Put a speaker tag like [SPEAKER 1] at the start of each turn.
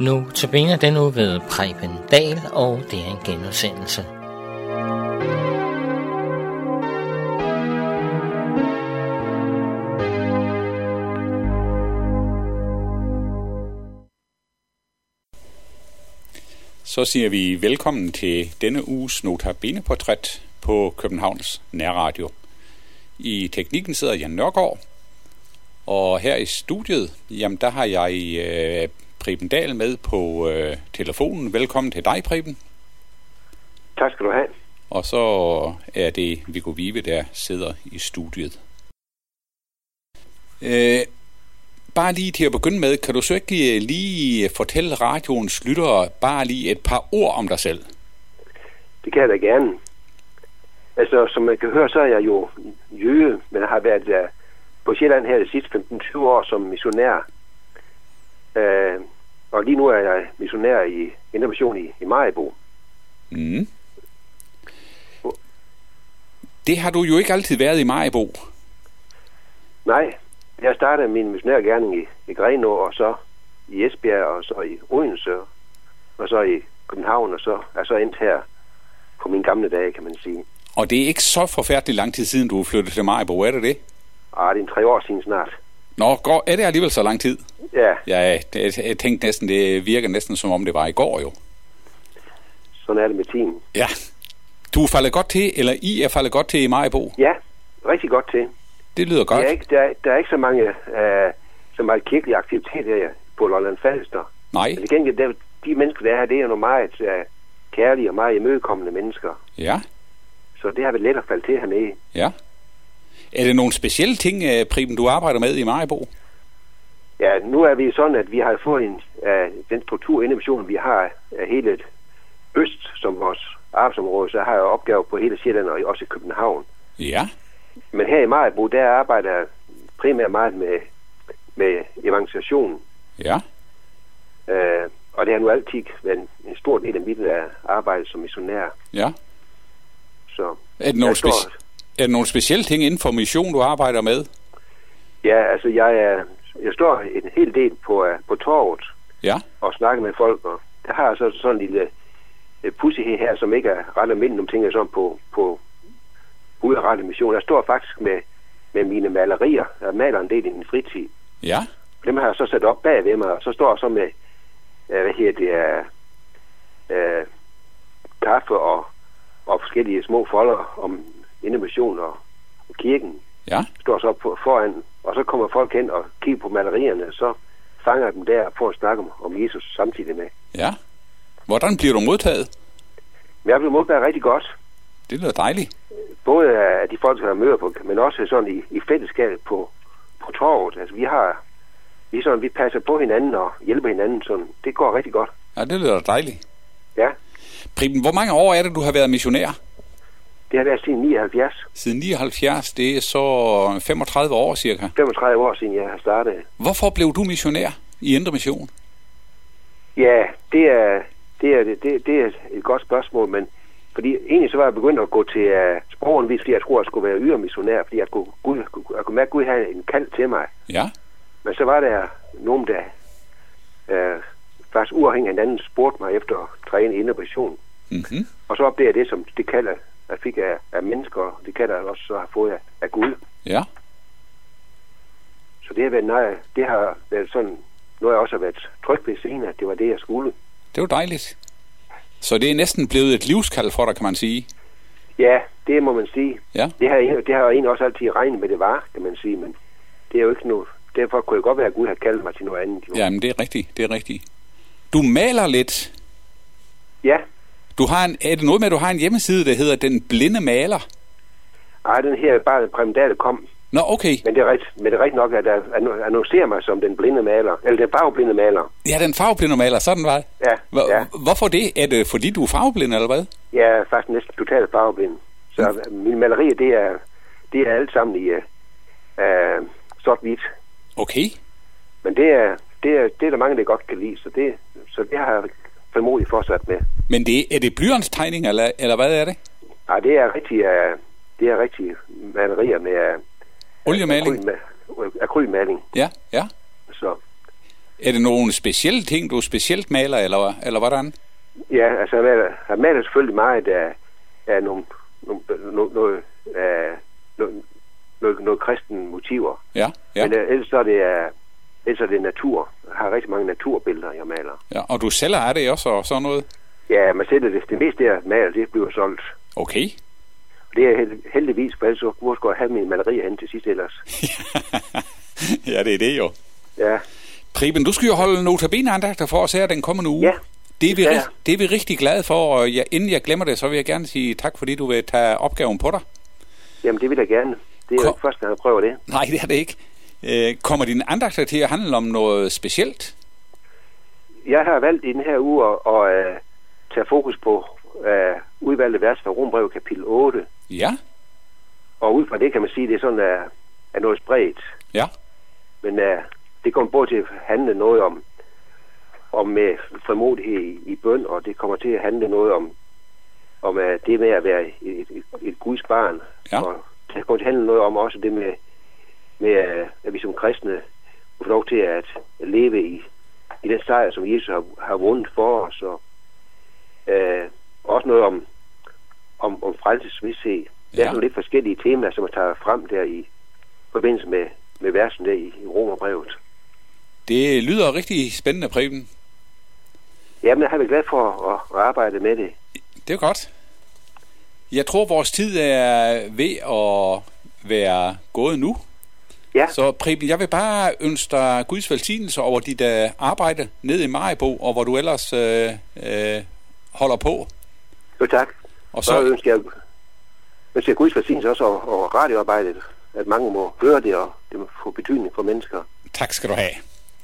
[SPEAKER 1] Nu tilbinder den nu ved Preben Dahl, og det er en genudsendelse.
[SPEAKER 2] Så siger vi velkommen til denne uges Nota Bene-portræt på Københavns Nærradio. I teknikken sidder Jan Nørgaard, og her i studiet, jamen der har jeg øh, Preben Dahl med på øh, telefonen. Velkommen til dig, Preben.
[SPEAKER 3] Tak skal du have.
[SPEAKER 2] Og så er det Viggo Vive, der sidder i studiet. Øh, bare lige til at begynde med, kan du så ikke lige, lige fortælle radioens lyttere bare lige et par ord om dig selv?
[SPEAKER 3] Det kan jeg da gerne. Altså, som man kan høre, så er jeg jo jøde, men har været øh, på Sjælland her de sidste 15-20 år som missionær. Øh, og lige nu er jeg missionær i Indre Mission i, i Maribo.
[SPEAKER 2] Mm. Det har du jo ikke altid været i Majbo.
[SPEAKER 3] Nej, jeg startede min missionærgerning i, i Grenå, og så i Esbjerg, og så i Odense, og så i København, og så er så endt her på mine gamle dage, kan man sige.
[SPEAKER 2] Og det er ikke så forfærdelig lang tid siden, du flyttede til Majbo, er det det?
[SPEAKER 3] Ah, det er en tre år siden snart.
[SPEAKER 2] Nå, går, er det alligevel så lang tid?
[SPEAKER 3] Ja,
[SPEAKER 2] Ja, jeg, jeg tænkte næsten, det virker næsten som om det var i går jo.
[SPEAKER 3] sådan er det med tiden.
[SPEAKER 2] Ja. Du er faldet godt til, eller I er faldet godt til i Majbo.
[SPEAKER 3] Ja, rigtig godt til.
[SPEAKER 2] Det lyder godt.
[SPEAKER 3] Der er ikke, der, er- der er ikke så mange øh, så meget kirkelig aktivitet her på Lolland Falster.
[SPEAKER 2] Nej,
[SPEAKER 3] Men til gengæld, der, de mennesker, der er her, det er nogle meget øh, kærlige og meget imødekommende mennesker.
[SPEAKER 2] ja,
[SPEAKER 3] Så det har været let at falde til hernede.
[SPEAKER 2] ja. Er det nogle specielle ting, øh, Preben, du arbejder med i Majbo?
[SPEAKER 3] Ja, nu er vi sådan, at vi har fået en, øh, den struktur inde i missionen, vi har øh, hele Øst som vores arbejdsområde, så har jeg opgaver på hele Sjælland og også i København.
[SPEAKER 2] Ja,
[SPEAKER 3] Men her i Majbo, der arbejder jeg primært meget med, med evangelisation.
[SPEAKER 2] ja,
[SPEAKER 3] Øh, og det har nu altid været en, en stor del af mit øh, arbejde som missionær.
[SPEAKER 2] ja.
[SPEAKER 3] Så
[SPEAKER 2] Er det nogle,
[SPEAKER 3] Jeg tror-
[SPEAKER 2] speci- er det nogle specielle ting inden for mission, du arbejder med?
[SPEAKER 3] ja, altså jeg, er- jeg står en hel del på, øh, på torvet
[SPEAKER 2] Ja,
[SPEAKER 3] og snakker med folk, og der har jeg så sådan en lille øh, pussighed her, som ikke er ret almindelig, om tænker jeg sådan på, på udrettet mission. Jeg står faktisk med, med mine malerier. Jeg maler en del i min fritid.
[SPEAKER 2] ja,
[SPEAKER 3] Dem har jeg så sat op bag ved mig, og så står jeg så med, øh, hvad hedder det, øh, øh, kaffe og, og forskellige små folder om innovation og, og kirken.
[SPEAKER 2] ja,
[SPEAKER 3] Står så på, foran, og så kommer folk hen og kigger på malerierne, så fanger jeg dem der og får at snakke om, om Jesus samtidig med.
[SPEAKER 2] ja. Hvordan bliver du modtaget?
[SPEAKER 3] Men jeg blev modtaget rigtig godt,
[SPEAKER 2] Det lyder dejligt.
[SPEAKER 3] både af de folk, der møder på, men også sådan i, i fællesskab på, på torvet. Altså vi har, vi, er sådan, vi passer på hinanden og hjælper hinanden, sådan. det går rigtig godt.
[SPEAKER 2] Ja, det lyder dejligt.
[SPEAKER 3] Ja,
[SPEAKER 2] Preben, hvor mange år er det, du har været missionær?
[SPEAKER 3] det har været siden 79,
[SPEAKER 2] Siden 79, det er så 35 år cirka.
[SPEAKER 3] 35 år siden jeg har startet.
[SPEAKER 2] Hvorfor blev du missionær i Indre Mission?
[SPEAKER 3] Ja, det er, det er, det, det er et godt spørgsmål, men fordi egentlig så var jeg begyndt at gå til uh, sprogundvis, fordi jeg tror, jeg skulle være ydermissionær, fordi jeg kunne, Gud, jeg kunne mærke, at Gud havde en kald til mig.
[SPEAKER 2] Ja,
[SPEAKER 3] Men så var der nogen, der øh, faktisk uafhængig af hinanden spurgte mig efter at træne indre mission.
[SPEAKER 2] mm-hmm.
[SPEAKER 3] Og så opdagede jeg det, som det kalder, jeg fik af, af mennesker, og det kalder jeg også så har fået af, af Gud.
[SPEAKER 2] ja,
[SPEAKER 3] Så det har været, nej, det har været sådan, noget jeg også har været tryg ved senere, at det var det, jeg skulle.
[SPEAKER 2] det var dejligt. Så det er næsten blevet et livskald for dig, kan man sige.
[SPEAKER 3] Ja, det må man sige.
[SPEAKER 2] Ja,
[SPEAKER 3] Det har, jeg- det har jeg egentlig også altid regnet med, det var, kan man sige, men det er jo ikke noget. Derfor kunne det godt være, at Gud har kaldt mig til noget andet. Jo.
[SPEAKER 2] jamen det er rigtigt, det er rigtigt. Du maler lidt.
[SPEAKER 3] ja.
[SPEAKER 2] Du har en, er det noget med, at du har en hjemmeside, der hedder Den Blinde Maler?
[SPEAKER 3] Ej, den her bare præmendale kom,
[SPEAKER 2] Nå, okay.
[SPEAKER 3] men det er rigtigt, men det er rigtigt nok, at jeg anno- annoncerer mig som den blinde maler, eller den farveblinde maler.
[SPEAKER 2] Ja, den farveblinde maler, sådan var det.
[SPEAKER 3] Ja,
[SPEAKER 2] Hvor,
[SPEAKER 3] ja.
[SPEAKER 2] Hvorfor det? Er det fordi, du er farveblind, eller hvad?
[SPEAKER 3] Jeg er faktisk næsten totalt farveblind. Så mine malerier, det er, det er alt sammen i uh, sort-hvidt.
[SPEAKER 2] Okay.
[SPEAKER 3] Men det er, det, er, det er der mange, der godt kan lide, så det, så det har jeg formodet fortsat med.
[SPEAKER 2] Men det, er det blyantstegning, eller, eller hvad er det?
[SPEAKER 3] Nej, det er rigtig, uh, det er rigtig malerier med øh,
[SPEAKER 2] Oliemaling?
[SPEAKER 3] akrylma- Akrylmaling,
[SPEAKER 2] Ja, ja.
[SPEAKER 3] så
[SPEAKER 2] Er det nogle specielle ting, du specielt maler, eller, eller hvordan?
[SPEAKER 3] Ja, altså jeg maler, jeg maler selvfølgelig meget af, af nogle, nogle, nogle, øh, nogle, af, nogle, nogle, nogle kristne motiver.
[SPEAKER 2] Ja,
[SPEAKER 3] Ja.
[SPEAKER 2] ja,
[SPEAKER 3] Men øh, ellers så er det, øh, ellers så er det natur. Jeg har rigtig mange naturbilleder, jeg maler.
[SPEAKER 2] ja. Og du sælger af det også, og sådan noget?
[SPEAKER 3] Ja, man sætter det, det meste, jeg maler, det bliver solgt.
[SPEAKER 2] Okay.
[SPEAKER 3] Og det er held- heldigvis, for ellers så- hvor skulle jeg have mine malerier hen til sidst ellers.
[SPEAKER 2] ja, det er det jo.
[SPEAKER 3] Ja,
[SPEAKER 2] Preben, du skal jo holde notabene-andagter for os her den kommende uge.
[SPEAKER 3] Ja,
[SPEAKER 2] Det er, vi,
[SPEAKER 3] skal
[SPEAKER 2] rig-
[SPEAKER 3] jeg.
[SPEAKER 2] det er vi rigtig glade for, og jeg, inden jeg glemmer det, så vil jeg gerne sige tak, fordi du vil tage opgaven på dig.
[SPEAKER 3] jamen det vil jeg gerne. Det er
[SPEAKER 2] Kom.
[SPEAKER 3] Kom. første gang, jeg prøver det.
[SPEAKER 2] Nej, det er det ikke. Øh, kommer dine andagter til at handle om noget specielt?
[SPEAKER 3] Jeg har valgt i den her uge at, at, at tage fokus på uh, udvalgte vers fra Rombrevet kapitel 8.
[SPEAKER 2] Ja,
[SPEAKER 3] Og ud fra det kan man sige, at det er sådan, at, at noget spredt.
[SPEAKER 2] ja,
[SPEAKER 3] Men uh, det kommer både til at handle noget om, om med frimodighed i, i bøn, og det kommer til at handle noget om, om uh, det med at være et, et, et Guds barn.
[SPEAKER 2] Ja.
[SPEAKER 3] Og det kommer til at handle noget om også det med, med uh, at vi som kristne får lov til at leve i, i den sejr, som Jesus har, har vundet for os. Og uh, også noget om, om, om frelsesvidshed. Der
[SPEAKER 2] Ja.
[SPEAKER 3] er sådan lidt forskellige temaer, som man tager frem der i forbindelse med, med versen der i, i Romerbrevet.
[SPEAKER 2] det lyder rigtig spændende, Preben.
[SPEAKER 3] Jamen, jeg har været glad for at, at arbejde med det.
[SPEAKER 2] Det er godt. Jeg tror, vores tid er ved at være gået nu.
[SPEAKER 3] Ja,
[SPEAKER 2] Så Preben, jeg vil bare ønske dig Guds velsignelse over dit øh, arbejde nede i Maribo, og hvor du ellers øh, øh, holder på.
[SPEAKER 3] jo tak.
[SPEAKER 2] Og
[SPEAKER 3] Så
[SPEAKER 2] så,
[SPEAKER 3] ønsker jeg, ønsker jeg Guds velsignelse også over, over radioarbejdet, at mange må høre det, og det må få betydning for mennesker.
[SPEAKER 2] tak skal du have.